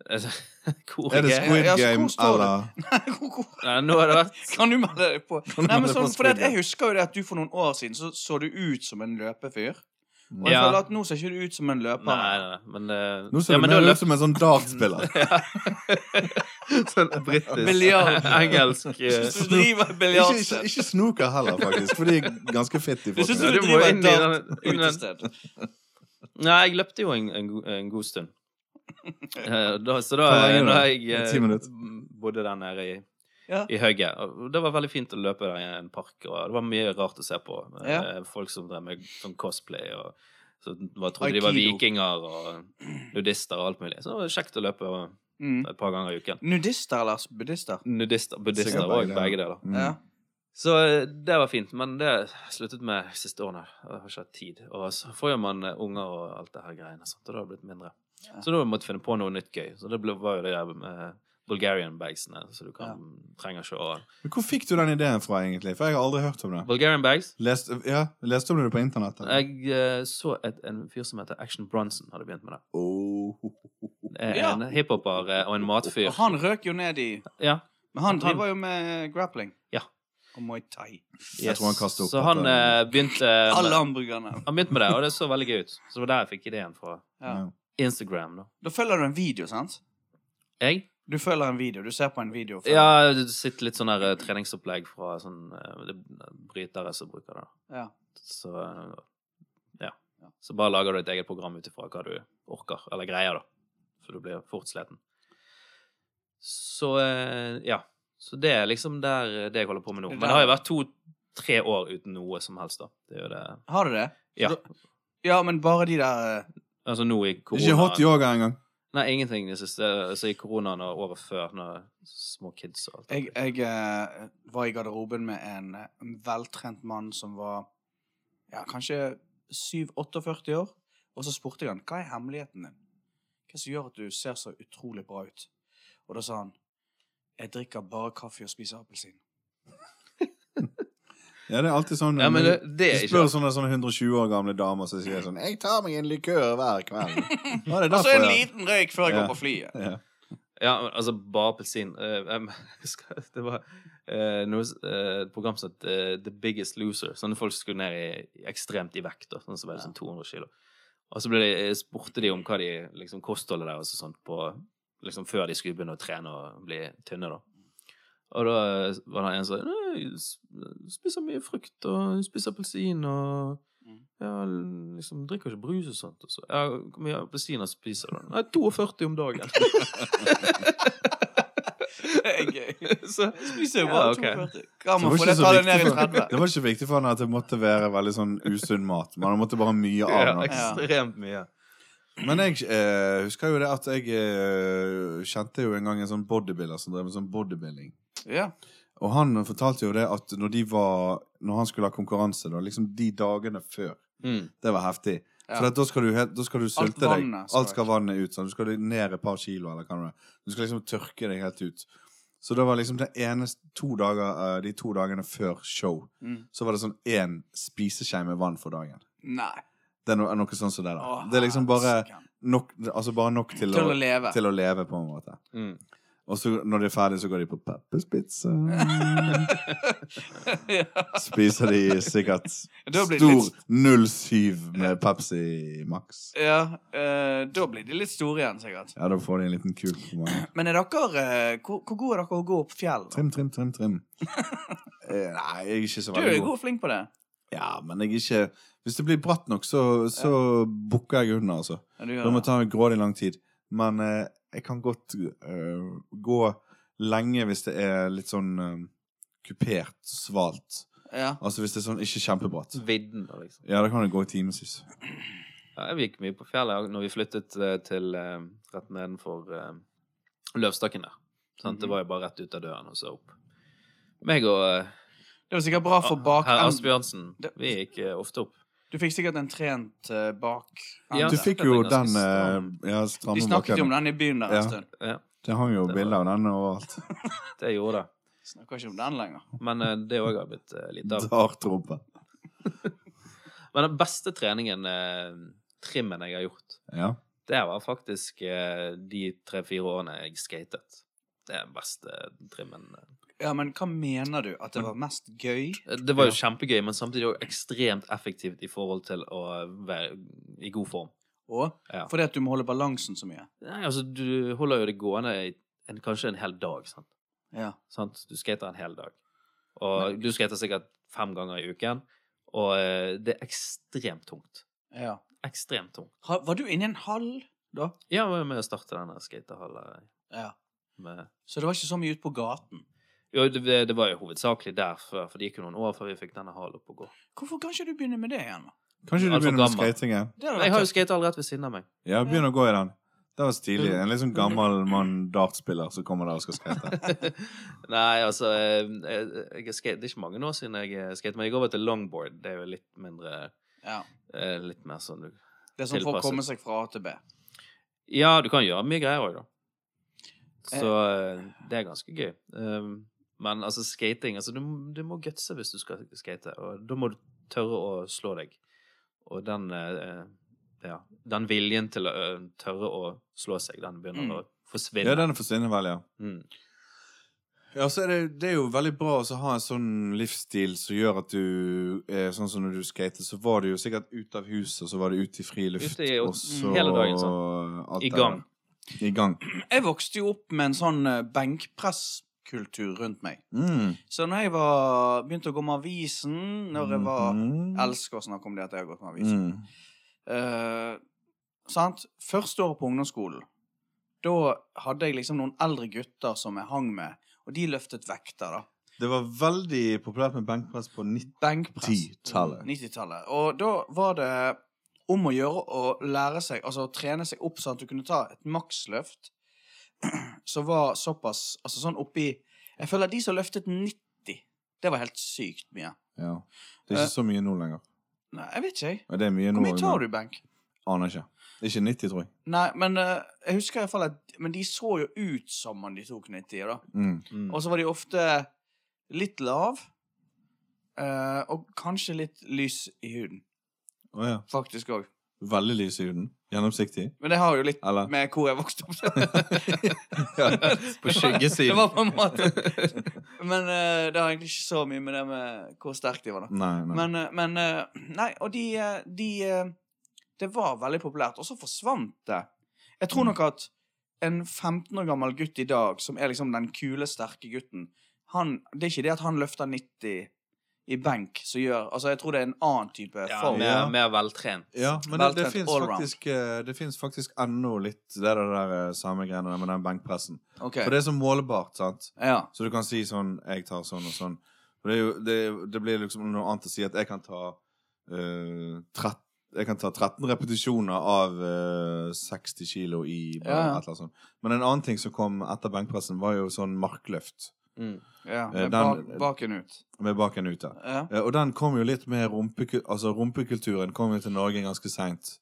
A: Hvor
C: Er det sånn?
A: jeg er?
C: Squid
B: Ja, altså, hvor
C: Game
B: står du?
C: eller
B: Hvor- hvor-
A: Nei, nå har det vært
B: Kan du melde deg på?
C: Kan du
B: Nei, men
C: melde deg på
B: sånn, fordi at
C: Squid
B: jeg husker jo det at du for noen år siden så, så du ut som en løpefyr. Og jeg
A: Ja.
B: føler at nå ser ikke du ut som en løper.
A: Nei, nei, nei, men eh,
C: Nå ser
A: ja,
C: du
A: men
C: mer
A: da
C: ut som en sånn dartspiller.
A: Sånn britisk
B: Biljard.
A: Engelsk eh,
B: Synes du driver
C: Ikke, ikke,
B: biljard?
C: ikke snooker heller, faktisk, for de er ganske fitte i
B: Du synes
A: Ja,
C: folkene.
B: du
A: du må
B: driver
A: inn i
B: dart
A: den- inn i den-
B: utested?
A: Nei, jeg løpte jo en, en, go- en god stund. Eh, Da, så da,
C: Hvor lenge
A: da
C: da?
A: jeg eh,
C: Ti minutter?
A: bodde der nede i,
B: Ja.
A: i Hauge og Det var veldig fint å løpe der i en park, og det var mye rart å se på. Eh,
B: Ja.
A: Folk som drev med sånn cosplay og så var, trodde de var
B: Aikido.
A: vikinger og nudister og alt mulig. Så det var kjekt å løpe
B: Mm.
A: et par ganger i uken.
B: Nudister eller buddhister?
A: Nudister,
C: Sikkert
A: buddhister
C: begge
A: og
C: deler.
A: begge deler.
C: Mm.
B: Ja.
A: Så eh, det var fint, men det har jeg sluttet med de siste årene. Jeg har ikke hatt tid. Og så får jo man eh, unger og alt det her greiene, sant? og da har det blitt mindre.
B: Ja.
A: Så da måtte jeg finne på noe nytt gøy. Så det ble, var jo det der med Bulgarian bagsene, så du kan trenger ikke å
C: Men hvor fikk du den ideen fra, egentlig? For jeg har aldri hørt om det.
A: Bulgarian bags?
C: Lest, ja, leste om det på internett? eller?
A: Jeg eh, så et, en fyr som heter Action Bronson, hadde begynt med det.
C: Oh.
A: Eh,
B: Ja.
A: En hiphoper eh, og en matfyr.
B: Og han røk jo ned i
A: Ja,
B: Men han
A: Han-
B: driver jo med grappling.
A: Ja.
B: Og muay thai.
C: Jeg tror han kastet opp
A: Så han eh,
C: dette.
A: begynte eh,
B: Alle
A: med,
B: hamburgerne.
A: Han begynte med det, og det så veldig gøy ut. Så det var der jeg fikk ideen fra
B: Ja.
C: Ja.
A: Instagram, da.
B: Da følger du en video, sant?
A: Jeg
B: Du følger en video. Du ser på en video. før-
A: Ja, det sitter litt sånn der eh, treningsopplegg fra sånn eh, det er brytere som bruker det. da.
B: Ja.
A: Så eh, ja. Så bare lager du et eget program ut ifra hva du orker, eller greier, da. Så du blir fort sliten. Så eh, ja. Så det er liksom der eh, det jeg holder på med nå. Men det har jo vært to-tre år uten noe som helst, da. Det er jo det
B: Har du det?
A: Ja.
B: Ja, men bare de der eh,
A: Altså nå i
C: Ikke hot
A: koronaen.
C: yoga engang.
A: Nei, ingenting i det siste. Altså i koronaen og året før, når små kids og alt.
B: Jeg, jeg eh, var i garderoben med en, eh, en veltrent mann som var ja, kanskje 7-48 år. Og så spurte jeg han, hva er hemmeligheten din? Hva som gjør at du ser så utrolig bra ut? Og da sa han, jeg drikker bare kaffe og spiser appelsin.
C: Ja, det er alltid sånn
A: Ja, men det, det
C: Du
A: er ikke
C: spør sånne, sånne 120 år gamle damer som sier sånn 'Jeg tar meg en likør hver kveld'. Ja, det er
B: Og så Altså, en
C: derfor, ja.
B: liten røyk før jeg
C: Ja.
B: går på flyet.
C: Ja.
A: Ja, men altså bare appelsin. Eh, em, jeg husker at det var eh, noe, s- eh, et program som het eh, The Biggest Loser. Sånne folk som skulle ned i, ekstremt i vekt. Da, sånn som veide sånn 200 sånn kilo. Og så ble de, spurte de om hva de liksom kostholdet deres og sånt på liksom før de skulle begynne å trene og bli tynne, da. Og da eh, var det en som sa «Nei, jeg s- spiser mye frukt og jeg spiser appelsin og
B: Mm.
A: ja, liksom drikker ikke brus og sånt. Og så, ja, hvor mye appelsiner spiser du? Nei, 42 om dagen.
B: Det er gøy.
A: så,
B: Spiser jo
A: Ja,
B: bare
A: ok.
B: 42.
C: Det
B: Kan man
C: var,
B: få
C: ikke
B: det
C: så
B: tallet
C: viktig
B: ned i
C: for,
B: 30?
C: det var ikke viktig for han at det måtte være veldig sånn usunn mat. Man måtte bare ha mye av
A: ja,
C: noe.
A: ekstremt mye.
C: Men jeg eh, husker jo det at jeg eh, kjente jo en gang en sånn bodybuilder som drev med sånn bodybuilding.
B: Ja.
C: Og han fortalte jo det at når de var Når han skulle ha konkurranse, da, liksom de dagene før
A: Mm.
C: Det var heftig.
B: Ja.
C: For at da skal du, helt- da skal du
B: Alt
C: sulte deg.
B: vannet skal
C: Alt skal vannet ut. Sånn. Du skal ned et par kilo, eller hva det er. Du skal liksom tørke deg helt ut. Så det var liksom det eneste, to dager, eh, de to dagene før show,
B: Mm.
C: så var det sånn én spiseskje med vann for dagen.
B: Nei.
C: Det er no, noe sånn som det, da.
B: Å,
C: det er liksom bare
B: helsike.
C: nok, altså bare nok til,
B: Til
C: å,
B: å leve.
C: til å leve, på en måte.
A: Mm.
C: Og så når de er ferdig, så går de på Peppers Pizza.
B: Ja.
C: Spiser de sikkert
B: Da blir det
C: stor
B: litt-
C: 07 med Pepsi Max.
B: Ja, eh, da blir de litt store igjen, sikkert.
C: Ja, da får de en liten kul på magen.
B: Men er dere, eh, hvor, hvor gode er dere å gå opp fjell? da?
C: Trim, trim, trim, trim. Eh, Nei, jeg er ikke så
B: Du er
C: veldig
B: jo
C: god.
B: god flink på det.
C: Ja, men jeg er ikke Hvis det blir bratt nok, så, så bukker jeg under, altså.
B: Ja, du gjør
C: Det må
B: det.
C: ta en grådig lang tid. Men eh, jeg kan godt eh, gå lenge hvis det er litt sånn eh, kupert, svalt.
B: Ja.
C: Altså hvis det er sånn ikke kjempebratt.
A: Vidden, da, liksom.
C: Ja, da kan det gå i timevis.
A: Ja, jeg gikk mye på fjellet når vi flyttet eh, til eh, rett nedenfor eh, Løvstakken der. Sant? Det var jo bare rett ut av døren og så opp. Meg og eh,
B: Det var sikkert bra for bak...
A: herr Asbjørnsen,
B: Det-
A: vi gikk eh, ofte opp.
B: Du fikk sikkert en trent eh, bak...
A: Ja,
C: Du
A: det-
C: fikk
A: det
C: jo
A: er
C: den
A: ganske stram.
C: eh, ja, stramme
B: De snakket jo om
C: bakken.
B: den i byen der
C: Ja.
B: en stund.
A: Ja,
C: Det hang jo
A: Det var-
C: bilder av den overalt.
A: det gjorde det.
B: Snakker ikke om den lenger.
A: Men eh, det òg har blitt eh, lite av.
C: Dartrumpe.
A: Men den beste treningen, eh, trimmen jeg har gjort,
C: Ja.
A: det var faktisk eh, de tre-fire årene jeg skatet. Det er den beste trimmen. eh.
B: Ja, men hva mener du? At det var mest gøy?
A: Det var jo kjempegøy, men samtidig òg ekstremt effektivt i forhold til å være i god form.
B: Og
A: Ja.
B: fordi at du må holde balansen så mye?
A: Nei, altså, du holder jo det gående i en, kanskje en hel dag, sant?
B: Ja.
A: sant? Du skater en hel dag. Og du skater sikkert fem ganger i uken, og eh, det er ekstremt tungt.
B: ja.
A: Ekstremt tungt.
B: Ha, var du inne i en hall da?
A: Ja, vi er med å starte denne skatehallen
B: Ja.
A: med
B: Så det var ikke så mye ute på gaten?
A: Jo, det, det var jo hovedsakelig der før, for det gikk jo noen år før vi fikk denne hallen opp å gå.
B: Hvorfor kan ikke du begynne med det igjen? da?
C: Kanskje du
A: Altfor
C: begynner med
A: gammel.
C: skatingen?
B: Det hadde
A: Jeg har
B: vært
A: jo
B: tøft.
A: skatet rett ved siden av meg.
C: Ja, begynn å gå i den. Det var stilig.
A: Mm.
C: En litt sånn gammel mann dartspiller som kommer der og skal skate.
A: Nei, altså eh, jeg, jeg skate, Det er ikke mange år siden jeg skatet, men jeg går over til longboard. Det er jo litt mindre
B: ja.
A: eh, Litt mer sånn du
B: Det er sånn for å
A: Tilpasset.
B: komme seg fra A til B.
A: Ja, du kan gjøre mye greier òg, da. Så eh, det er ganske gøy. Um, men altså, skating altså, du, m- du må gutse hvis du skal skate, og da må du tørre å slå deg. Og den eh, Ja, den viljen til å eh, tørre å slå seg, den begynner
B: Mm.
A: å forsvinne.
C: Ja, den forsvinner vel, ja.
A: Mm.
C: Ja, så er det, det er jo veldig bra å så ha en sånn livsstil som gjør at du eh, Sånn som når du skatet, så var du jo sikkert ut av huset, og så var du ute i friluft,
A: Ute i-
C: og så
A: hele dagen, sånn.
C: alt
A: I
C: det
A: gang.
C: der. I gang.
B: Jeg vokste jo opp med en sånn eh, benkpresskultur rundt meg.
C: Mm.
B: Så når jeg var, begynte å gå med avisen Når jeg var
C: Mhm.
B: Elsker å snakke om det at jeg har gått med avisen.
C: Mm.
B: Eh, sant? Første året på ungdomsskolen, da hadde jeg liksom noen eldre gutter som jeg hang med, og de løftet vekter, da.
C: Det var veldig populært med benkpress på 90
B: Benkpress.
C: 10-tallet.
B: 90-tallet. Mm, Og da var det om å gjøre å lære seg, altså å trene seg opp sånn at du kunne ta et maksløft som var såpass Altså sånn oppi Jeg føler de som løftet 90, det var helt sykt mye.
C: Ja. Det er ikke
A: Eh.
C: så mye nå lenger.
B: Nei, jeg vet ikke, jeg.
C: Og det er mye nå.
B: Hvor mye tar
C: men-
B: du, Benk?
C: Aner ikke. Ikke 90, tror jeg.
B: Nei, men eh, jeg husker i hvert fall at Men de så jo ut som om de tok 90, da.
C: Mm.
A: Mm.
B: Og så var de ofte litt lav, eh, og kanskje litt lys i huden,
C: Å ja.
B: faktisk òg.
C: Veldig lys i huden. Gjennomsiktig.
B: Men det har jo litt
C: Eller
B: med hvor jeg vokste opp
A: på
B: Det
A: skyggesiden.
B: var på en måte Men eh, det har egentlig ikke så mye med det med hvor sterk de var, da.
C: Nei, nei.
B: Men, eh, men eh, Nei, og de, eh, de eh, Det var veldig populært, og så forsvant det. Jeg
C: Mm.
B: tror nok at en 15 år gammel gutt i dag, som er liksom den kule, sterke gutten han, Det er ikke det at han løfter 90 i benk som gjør Altså, jeg tror det er en annen type
A: Ja,
B: form.
A: mer, mer veltrent.
C: Ja, men det, det
B: Veltrent
C: fins
B: allround.
C: faktisk, eh, det finnes faktisk ennå litt det der, der eh, samme greiene der med den benkpressen.
B: Ok.
C: For det er så målbart, sant?
B: Ja.
C: Så du kan si sånn Jeg tar sånn og sånn. Og det, er jo, det, det blir liksom noe annet å si at jeg kan ta eh, 13 jeg kan ta 13 repetisjoner av eh, 60 kilo i bare
B: Ja.
C: et eller annet sånt. Men en annen ting som kom etter benkpressen, var jo sånn markløft
A: Mm.
B: ja
C: Eh, den-
B: med bak, baken ut.
C: med baken ut der.
B: Ja.
C: Eh, Og den kom jo litt med rumpeku- altså rumpekulturen kom jo til Norge ganske seint.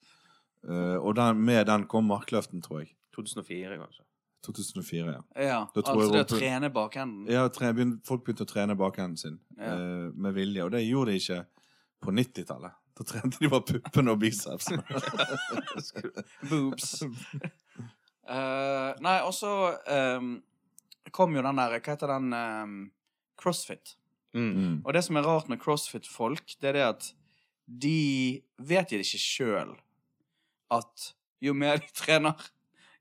C: Eh, og den, med den kom markløften, tror jeg.
A: 2004, kanskje.
C: 2004, ja.
B: ja.
C: Da tror
B: Altså
C: jeg
B: det å
C: rumpen-
B: trene bakenden.
C: ja tre, begyn- folk begynte å trene bakenden sin
B: Ja.
C: eh, med vilje, og det gjorde de ikke på 90-tallet. Da trente de bare puppene og bicepsene.
B: Boobs. Eh, nei, og så ehm, kom jo den der Hva heter den ehm, CrossFit.
A: Mm.
C: Mm.
B: Og det som er rart med CrossFit-folk, det er det at de vet jo ikke sjøl at jo mer de trener,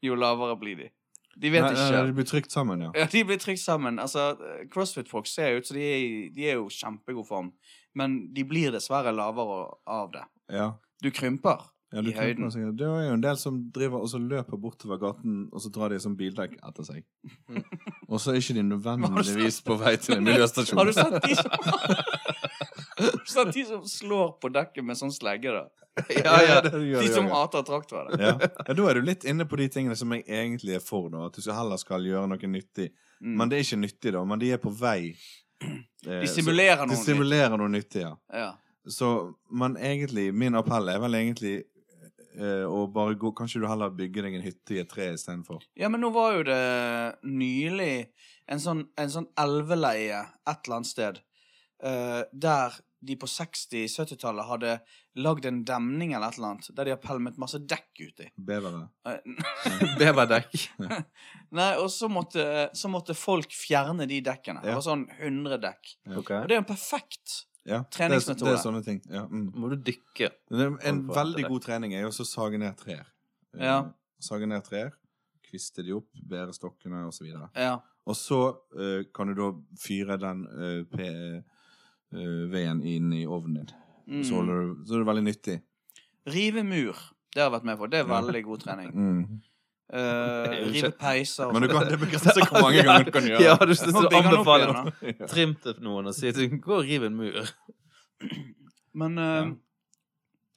B: jo lavere blir de. De vet
C: Nei,
B: ikke.
C: nei, eh, de blir trykt sammen, ja.
B: Ja, de blir trykt sammen. Altså, CrossFit-folk ser ut som de, er i- de er jo i kjempegod form, men de blir dessverre lavere av det.
C: ja.
B: Du krymper
C: Ja, du
B: i høyden.
C: kan- Det er jo en del som driver og så løper bortover gaten, og så drar de som bildekk etter seg.
A: Mm.
C: Og så er ikke de
B: Har du
C: nødvendigvis på vei til en miljøstasjon.
B: Har du sett de som Har du sett de som slår på dekket med sånn slegge, da?
C: Ja, ja, det gjør
B: De
C: jeg
B: som
C: også.
B: hater traktorer. da.
C: ja. ja, da er du litt inne på de tingene som jeg egentlig er for, da. At du skal- heller skal gjøre noe nyttig.
B: Mm.
C: Men det er ikke nyttig, da. Men de er på vei. Eh,
B: De simulerer
C: De
B: noe. nytt.
C: simulerer noe nyttig, ja.
B: Ja.
C: Så, men egentlig, min appell er vel egentlig eh, å bare gå Kanskje du heller bygger deg en hytte i et tre istedenfor?
B: ja, men nå var jo det nylig en sånn, en sånn elveleie et eller annet sted eh, der de på 60-70-tallet hadde lagd en demning eller et eller annet, der de har pælmet masse dekk uti.
C: Bevere.
B: Eh,
A: Beverdekk.
B: Nei, og så måtte, så måtte folk fjerne de dekkene. Det
C: Ja.
B: var sånn 100 dekk.
A: Ok.
B: Og det er jo en perfekt
C: Ja, det er-
B: Treningsmetode.
C: Det er sånne ting. Ja, mm.
A: Må du dykke?
C: Men det- En
A: Overfor
C: veldig
A: dette.
C: god trening er jo også å sage ned trær. Eh,
B: Ja.
C: Sage ned trær, kviste de opp, bære stokkene osv.
B: Ja.
C: Og så eh, kan du da fyre den eh, p- eh, veden inn i ovnen din.
B: Mm.
C: Så, holder du, så er det veldig nyttig.
B: Rive mur. Det har jeg vært med på. Det er
C: Ja.
B: veldig god trening.
C: Mm.
B: Eh,
A: Det er jo
B: rive
A: ikke-
B: peiser og
C: Men du
B: sånt.
C: kan, det begrenser hvor mange ganger du kan gjøre
A: Ja,
C: det.
A: du synes
B: Nå
A: du
B: bygger han opp
A: anbefaler
B: igjen, da.
A: trim til noen og sier til dem, gå og riv en mur.
B: Men eh,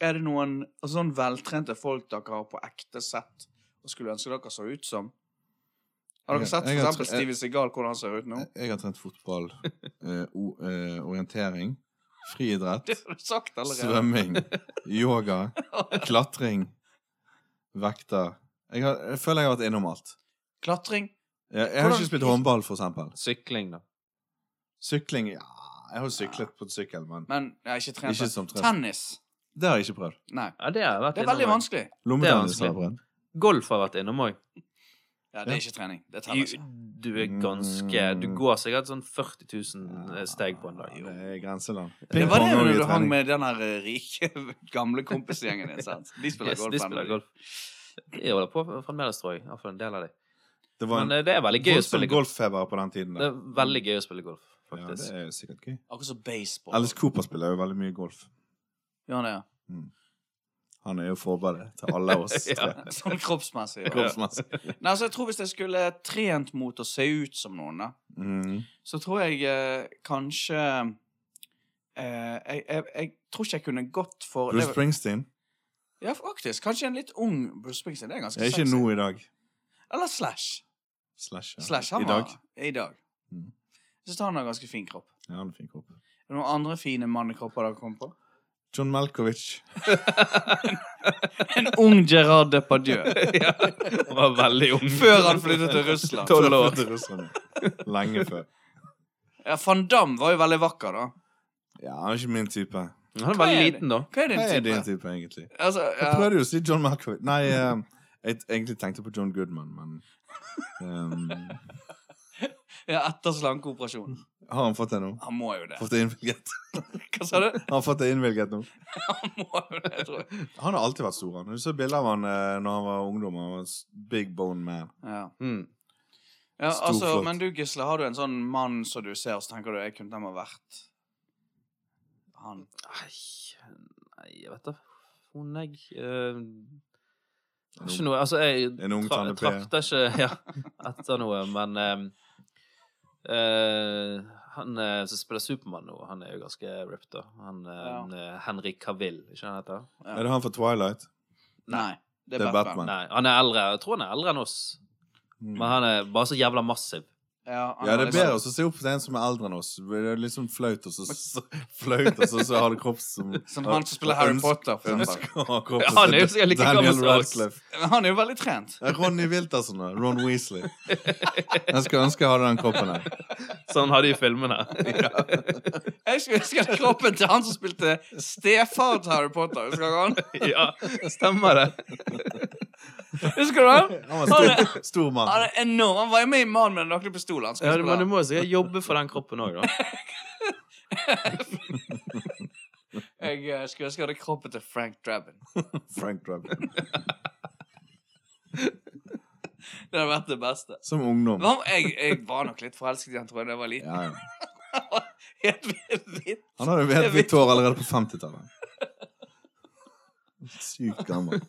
B: er det noen altså, sånn veltrente folk dere har på ekte sett og skulle ønske dere så ut som? Har dere
C: Jeg-
B: sett
C: jeg
B: for
C: har
B: eksempel
C: tr- jeg-
B: Steven Segal, hvordan han ser ut nå?
C: Jeg har trent fotball, eh, o, eh, orientering, friidrett,
B: Det har du sagt allerede.
C: svømming, yoga, klatring, vekter. Jeg, har, jeg føler jeg har vært innom alt.
B: Klatring.
C: Jeg, jeg har
B: Hvordan-
C: ikke spilt håndball, for eksempel.
A: Sykling, da.
C: Sykling ja, Jeg har jo syklet på sykkel, men
B: Men jeg har ikke trent.
C: Ikke
B: det.
C: som trent.
B: Tennis.
C: det har jeg ikke prøvd.
B: Nei.
A: Ja, det har jeg vært
B: Det er veldig
A: innom.
B: vanskelig.
C: Lommetennis har
A: vanskelig.
C: jeg prøvd.
A: Golf har jeg vært innom òg.
B: Ja, det er ikke trening. Det teller ikke.
A: Du er ganske Du
B: Mm.
A: går sikkert sånn 40 000 eh, steg på en dag.
C: Ja, Det er grenseland.
B: Det var
C: Pingpong
B: det når
C: også i
B: du hang
C: trening.
B: med den her eh, rike, gamle kompisgjengen din. sant? De spiller
A: Yes,
B: golf.
A: de spiller
B: ennå.
A: golf. Jeg holder på fremdeles, tror jeg. Iallfall en del av dem.
C: Det var en
A: Men eh, det er veldig gøy å
C: voldsom
A: spille golf.
C: golffeber på den tiden.
A: Det
C: Der.
A: er veldig gøy å spille golf,
C: Ja, det
A: faktisk.
C: er sikkert gøy.
B: Akkurat som baseball.
C: Alice Cooper spiller jo veldig mye golf.
B: Gjør han det, ja.
C: Han er jo forberedt til alle oss.
A: Ja.
C: tre.
B: Sånn kroppsmessig. ja.
C: Golfmessig.
B: Nei, altså, jeg tror Hvis jeg skulle trent mot å se ut som noen, da,
C: Mm.
B: så tror jeg eh, kanskje eh, jeg, jeg, jeg tror ikke jeg kunne gått for
C: Bruce
B: det-
C: Springsteen
B: Ja, faktisk. Kanskje en litt ung Bruce Springsteen. Det er ganske
C: er ikke
B: sexy.
C: nå i dag.
B: Eller Slash.
C: Slash. Ja.
B: Slash han
C: I dag.
B: var i dag.
C: Mm.
B: Jeg syns han har ganske fin kropp.
C: Ja, han er fin kropp.
B: Er det noen andre fine mannekropper dere kom på?
C: John Malkovich.
B: En ung Gerard Depardieu.
A: Ja. Han var veldig ung.
B: Før han flyttet til Russland.
A: Tolv år.
C: Til Russland, ja. Lenge før.
B: Ja, Van Damme var jo veldig vakker, da.
C: Ja, han er ikke min type.
A: Han
B: Hva er
A: er veldig
B: det?
A: liten, da.
B: Hva er
C: Hva
B: din
C: er din
B: type?
C: type, egentlig?
B: Altså,
C: Jeg
B: ja.
C: prøvde jo å si John Malkovich. Nei, eh, jeg t- egentlig tenkte på John Goodman, men ehm,
B: ja, etter slankeoperasjonen.
C: Har han fått det nå?
B: Han må jo det.
C: Fått det innvilget?
B: Hva sa du?
C: Han har fått det innvilget nå.
B: Han må jo det, tror jeg.
C: Han har alltid vært stor. han. Du ser bilder av han eh, når han var ungdom. Han var en s- big bone man.
B: Ja.
A: Mm.
B: Ja,
C: Stor
B: altså,
C: flott.
B: men du, Gisle, har du en sånn mann som du ser, så tenker du jeg kunne den ha vært han?
A: Nei, nei, jeg vet da faen, jeg eh, har Ikke noe Altså, jeg
C: En ung
A: tra-
C: Tanne P.
A: trakter ikke ja, etter noe, men eh, eh, han eh, som spiller Supermann nå, han er jo ganske ripped, da. Han eh, Henry Cavill, ikke han heter?
B: Ja.
C: Er det han fra Twilight?
B: Nei. Det er
C: Det er
B: Batman.
C: Batman.
A: Nei, han er eldre. Jeg tror han er eldre enn oss,
C: Mm.
A: men han er bare så jævla massiv.
B: Ja,
C: Ja,
B: han har
C: det er
B: liksom-
C: bedre å se opp til en som er eldre enn oss. Det er liksom flaut, og så, så, flaut, og så, så har det kropp som
B: Som sånn han som spiller Harry
C: Ønsk-
B: Potter, for eksempel.
C: ønsker å ha kropp
A: Ja,
C: som
A: han er jo sikkert like gammel
C: Daniel
A: som oss.
C: Radcliffe.
B: Men Han er jo veldig trent.
C: Det er Ronny Wilterson og Ron Weasley. Jeg skulle ønske jeg hadde den kroppen her.
A: Sånn hadde de i filmene.
B: Jeg skulle ønske at kroppen til han som spilte stefar til Harry Potter. Husker du han?
A: ja, stemmer det.
B: Husker du han?
C: Han var en stor, stor
B: Han
C: mann.
B: er enorm. Han var jo med i Mannen med den nakne pistolen. Han
A: Ja,
B: skulle
A: men du
B: spille.
A: må jo sikkert jobbe for den kroppen òg, da.
B: Jeg eh, skulle ønske jeg hadde kroppen til Frank Drabin.
C: Frank Drabin.
B: Det hadde vært det beste.
C: Som ungdom.
B: Men han- Jeg, jeg var nok litt forelsket i han, tror jeg, da jeg var liten.
C: Ja, ja.
B: Helt vilt.
C: Han hadde jo helt hvitt hår allerede på 50-tallet. Sykt gammel.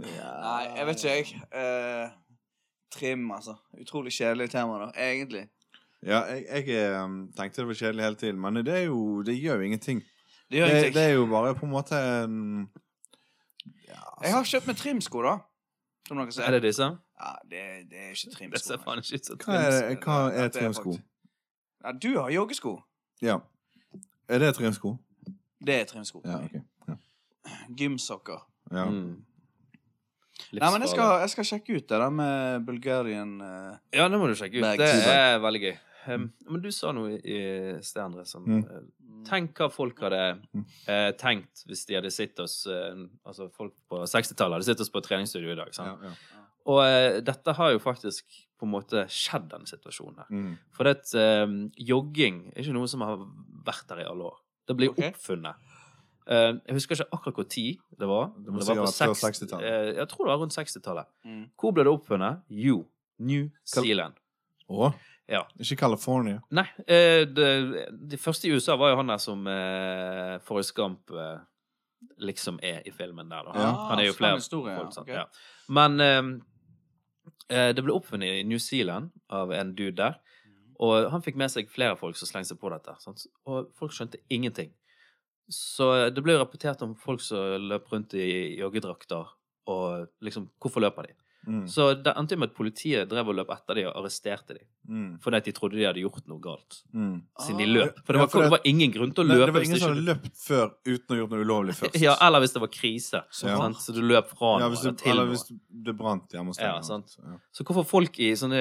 B: Nei, jeg vet ikke, jeg. Eh, trim, altså. Utrolig kjedelig tema, da. Egentlig.
C: Ja, jeg, jeg eh, tenkte det var kjedelig hele tiden, men det, er jo, det gjør jo ingenting.
B: Det
C: Det,
B: gjør ingenting.
C: det er jo bare på en måte en ja,
B: Jeg har kjøpt meg trimsko, da. Som dere ser.
A: Er det disse?
B: Ja, det, det er ikke trimsko.
A: Det ser faen ikke ut som
C: Hva er,
A: trims.
C: hva er
B: Dette er
C: trimsko?
B: faktisk- Ja, du har joggesko.
C: Ja. Er det trimsko?
B: Det er trimsko.
C: Ja, ok. Ja.
B: Gymsokker.
C: Ja.
A: Mm.
B: Nei, men jeg skal, jeg skal sjekke ut det der med Bulgarian eh,
A: Ja, det må du sjekke ut.
B: Bags.
A: Det er veldig gøy. Um, men du sa noe i sted, André, som
C: Mm.
A: eh, Tenk hva folk hadde eh, tenkt hvis de hadde sett oss eh, Altså folk på 60-tallet hadde sett oss på treningsstudio i dag.
C: Ja,
A: Sant?
C: ja.
A: Og eh, dette har jo faktisk på en måte skjedd, den situasjonen her.
C: Mm.
A: For det at eh, jogging er ikke noe som har vært der i alle år. Det blir
B: Ok.
A: oppfunnet. Eh, jeg husker ikke akkurat hvor tid det var.
C: Det må
A: om
C: sikkert ha
A: på
C: vært før
A: 60
C: 60-tallet.
A: eh, jeg tror det var rundt 60-tallet.
B: mm.
A: Hvor ble det oppfunnet? Jo, New
C: Kal-
A: Zealand.
C: Å?
A: Ja.
C: Ikke California?
A: Nei. Eh, det, de første i USA var jo han der som eh, Forrest Gump eh, liksom er i filmen der. Da. Han,
C: Ja.
A: han er jo
B: Ah,
A: flere
B: sånn historie, ja.
A: folk. Sant?
B: Ok.
A: Ja. Men eh, eh, det ble oppfunnet i New Zealand av en dude der. Og han fikk med seg flere folk som slengte seg på dette. Sant? Og folk skjønte ingenting. Så eh, det ble jo rapportert om folk som løp rundt i joggedrakter, og liksom Hvorfor løper de?
C: Mm.
A: Så det endte jo med at politiet drev og løp etter de og arresterte de.
C: Mm.
A: Fordi at de trodde de hadde gjort noe galt
C: Mm.
A: siden de
B: Ah.
A: løp. For det
C: Ja,
A: var,
C: for det-
A: det var ingen grunn til å
C: Nei,
A: løpe.
C: det var
A: hvis
C: ingen som hadde
A: ikke
C: løpt før uten å ha gjort noe ulovlig
A: du-
C: først.
A: Ja, eller hvis det var krise.
C: Så
A: Så,
C: rart.
A: så du løp
C: Ja,
A: fra noe
C: hvis
A: eller
C: det,
A: til
C: eller
A: noe.
C: hvis det brant hjemme hos deg.
A: Ja,
C: eller
A: sant.
C: noe.
A: Så hvorfor folk i sånne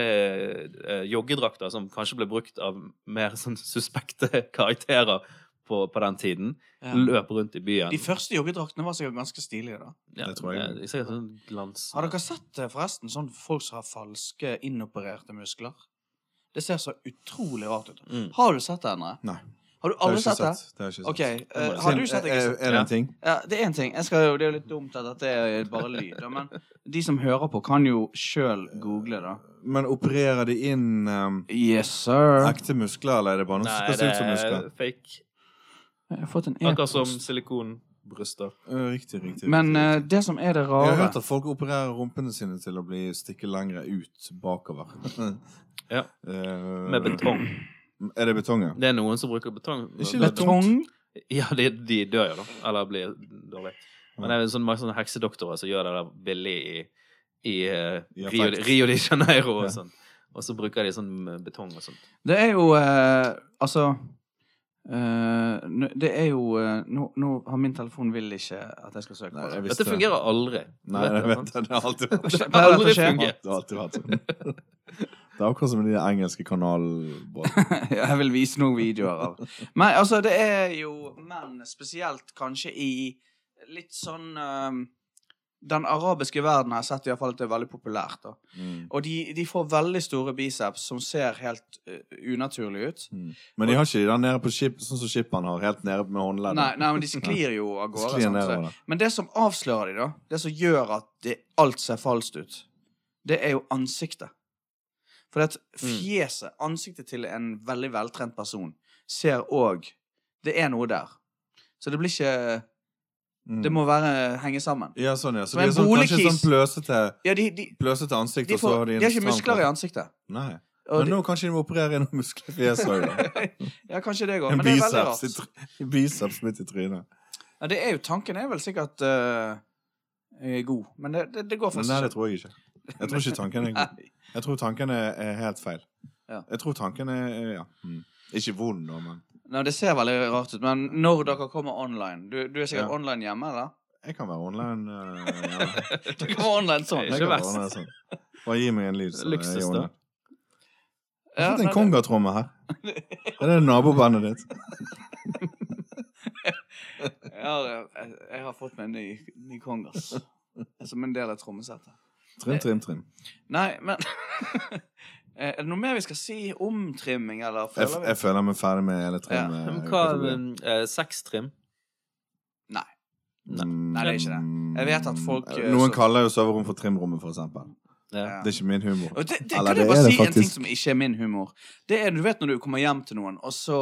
A: eh, joggedrakter som kanskje ble brukt av mer sånn suspekte karakterer på, på den tiden,
B: Ja.
A: løp rundt i byen
B: De første joggedraktene var sikkert ganske stilige, da.
A: ja,
C: det tror jeg.
A: eh, sikkert sånn glans
B: Har dere sett eh, forresten sånn folk som har falske, inopererte muskler? Det ser så utrolig rart ut.
A: Mm.
B: Har du sett det, Endre?
C: Nei.
B: Har du
C: Det har
B: aldri
C: jeg ikke
B: sett det?
C: sett. Det har jeg ikke sett.
B: OK. eh,
A: må jeg
B: har
C: Sin-
B: du sett det?
C: Er,
B: Gisle?
C: er det en ting?
B: Ja, det er én ting. Jeg skal, jo- det er jo litt dumt at dette er bare lyd, da, men de som hører på, kan jo sjøl google, da.
C: Men opererer de inn um,
B: Yes, sir.
C: ekte muskler, eller er det bare noe som skal
A: Nei, det
C: se ut som muskler?
A: er fake.
B: Jeg har fått en
A: Akkurat som
B: e-post.
A: silikonbryster.
C: Ja, Riktig, riktig.
B: Men
C: riktig,
B: eh,
C: riktig.
B: det som er det
C: jeg har
B: rare
C: hørt at folk opererer rumpene sine til å bli stikke lengre ut bakover.
A: Ja.
C: Eh,
A: Med betong.
C: Er det betong, ja?
A: Det er noen som bruker betong.
C: Ikke
A: Det-
C: lett
B: Betong?
A: Ja, de, de dør jo, da. Eller blir dårlige. Men det er jo sånn mange sånne heksedoktorer som gjør det der billig i, i, eh,
C: I affekt.
A: Rio, de- Rio de Janeiro og
C: Ja.
A: sånn. Og så bruker de sånn eh, betong og sånt.
B: Det er jo eh, Altså eh, nå- Det er jo eh, nå, nå har min telefon vil ikke at jeg skal søke
C: Nei,
B: på
C: jeg
B: det.
C: visste
A: Dette fungerer aldri.
C: Nei, jeg
A: det,
C: vet
A: sant?
C: det. Det har alltid vært
A: Det
B: Pleier
A: har
B: dette å
A: aldri
B: skje?
A: fungert.
C: Det har alltid vært sånn. Det er akkurat som med de engelske kanalbåtene.
B: Jeg vil vise noen videoer av Men altså, det er jo menn, spesielt kanskje i litt sånn eh, den arabiske verden har jeg sett i hvert fall at det er veldig populært. da.
C: Mm.
B: Og de, de får veldig store biceps som ser helt uh, unaturlig ut.
C: Mm. Men de har ikke den nede på skip, sånn som skipperen har, helt nede med håndleddet.
B: Nei, nei, men de sklir jo av
C: Sklir
B: gårde. sant, så-
C: nedover, da.
B: Men det som avslører de da, det som gjør at det, alt ser falskt ut, det er jo ansiktet. For at
C: Mm.
B: fjeset, ansiktet til en veldig veltrent person, ser òg Det er noe der. Så det blir ikke
C: Mm.
B: Det må være henge sammen.
C: Ja, sånn, ja. Så
B: Men
C: de er sånn, kanskje
B: boligkis-
C: sånn pløsete,
B: Ja, de, de,
C: pløsete ansikt,
B: de,
C: og så
B: får,
C: har
B: de
C: de en
B: har ikke
C: stram
B: muskler i
C: kropp.
B: ansiktet.
C: Nei.
B: Og
C: Men
B: de,
C: nå kanskje de må operere inn noen muskler i fjeset òg, da.
B: ja, kanskje det går,
C: En
B: men det er veldig
C: biceps, i
B: rart.
C: try- biceps midt i trynet.
B: Ja, det er jo, tanken er vel sikkert eh, god, men det, det, det
C: Men
B: går faktisk
C: nei, det tror jeg ikke. Jeg tror ikke tanken er god.
B: Nei.
C: Jeg tror tanken er, er helt feil.
B: Ja.
C: Jeg tror tanken er er- ja. Mm. Ikke vond, da, men
B: Nei, det ser veldig rart ut, men når dere kommer online Du, du er sikkert
C: Ja.
B: online hjemme, eller?
C: jeg kan være online. eh, ja.
B: Du kommer online sånn.
A: Ikke
C: Jeg kan være
A: verst.
C: online sånn. Bare gi meg en lyd, så er jeg
A: Luksus, da.
C: online. Jeg
B: Ja,
C: har fått en
B: nei,
C: kongatromme her. Er det nabobandet ditt?
B: det- jeg, har, jeg, jeg har fått meg en ny, ny kongas. Som en del av trommesettet.
C: Trim, trim, trim.
B: Nei, men Eh, Er det noe mer vi skal si om trimming, eller
C: Jeg,
B: føler vi
C: jeg føler meg ferdig med hele trim.
B: Ja,
C: eh,
A: Men hva
C: kategorien.
A: eh, Sextrim?
B: Nei.
A: Nei.
C: Mm,
B: Nei, det er ikke det. Jeg vet at folk, eh,
C: Noen
B: så-
C: kaller jo soverom for trimrommet, for eksempel.
A: Ja.
B: Ja.
C: Det er ikke min humor.
B: Og det, det,
C: Eller,
B: kan jeg
C: det
B: bare
C: er det
B: si en ting
C: faktisk.
B: som ikke er min humor? Det er, Du vet når du kommer hjem til noen, og så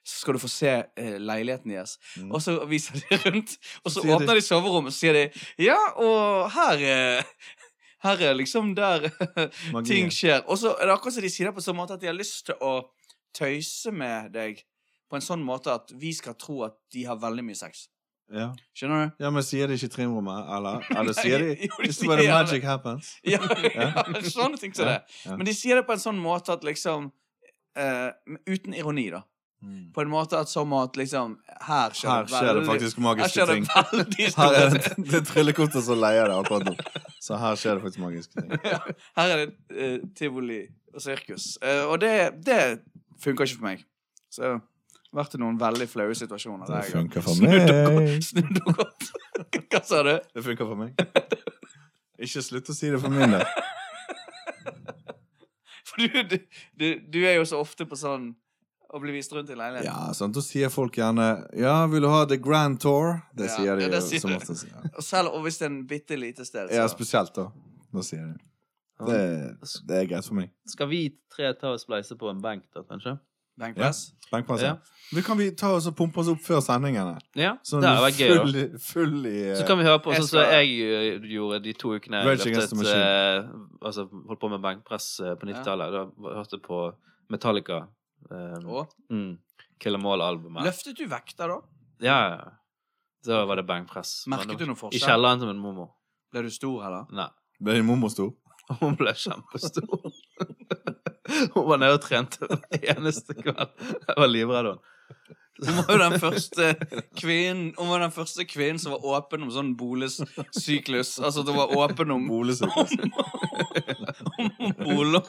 B: skal du få se eh, leiligheten deres.
C: Mm.
B: Og så viser de rundt, og så
C: Sier de-
B: åpner de soverommet, og sier de Ja, og her eh, Her er liksom der
C: Magien.
B: ting skjer. Og så er det akkurat som de sier det på sånn måte at de har lyst til å tøyse med deg på en sånn måte at vi skal tro at de har veldig mye sex.
C: Ja.
B: Skjønner du?
C: ja, men sier de ikke trimrommet, eller? Eller sier de
B: Nei, jo, de
C: This is where the
B: sier det.
C: magic happens.
B: Ja, ja sånne ting som
C: Ja,
B: det.
C: ja.
B: Men de sier det på en sånn måte at liksom eh, Uten ironi, da.
C: Mm.
B: På en måte at som at liksom Her skjer,
C: Her skjer det
B: veldig-
C: faktisk
B: her
C: magiske
B: skjer det
C: ting.
B: veldig
C: Her
B: store
C: er det, det er tryllekunstner som leier det akkurat nå. Så her skjer det faktisk magiske ting.
B: Her er det eh, tivoli og sirkus. Eh, og det, det funker ikke for meg. Så jeg har vært i noen veldig flaue situasjoner.
C: Det
B: der jeg har
C: funker for
B: snudd og
C: meg.
B: gått- Snudd og gått. Hva sa du?
C: Det funker for meg. Ikke slutt å si det for min del.
B: For du, du, du, du er jo så ofte på sånn å bli vist rundt i leiligheten.
C: Ja, sant? Da sier folk gjerne Ja, vil du ha The Grand Tour? Det
B: Ja,
C: sier de
B: ja,
C: jo
B: det sier
C: som
B: de.
C: oftest. Ja.
B: Og selv og hvis det er en bitte lite sted, så
C: ja, spesielt da. Da sier de det. Det er greit for meg.
A: Skal vi tre ta og spleise på en benk, da, kanskje?
B: Benkpress.
C: Benkpass.
A: Ja.
C: Men kan vi ta oss og pumpe oss opp før sendingene?
A: Ja,
C: Sånn
A: det hadde vært gøy. da.
C: full, i- full i
A: Så kan vi høre på
B: Jeg
A: sånn som
B: skal-
A: jeg eh, gjorde de to ukene jeg
C: Eh, Rage Against the
A: løftet,
C: Machine.
A: eh, altså, holdt på med benkpress eh, på 90-tallet. Da hørte jeg på Metallica. Eh,
B: Og
A: mm, Kill 'Em All-albumet.
B: løftet du vekter, da?
A: Ja, ja. ja. Da var det benkpress. Men
B: Merket
A: Sånn, det-
B: du noen
A: I
B: forskjell?
A: kjelleren til min mormor.
B: Ble du stor, eller?
A: Nei.
C: Ble din mormor stor?
A: Hun ble kjempestor. Hun var nede og trente hver eneste kveld. Jeg var livredd henne.
B: Hun var jo den første kvinnen Hun var den første kvinnen som var åpen om sånn boligsyklus. Altså at hun var åpen om
C: Bolesyklus.
B: om bolom.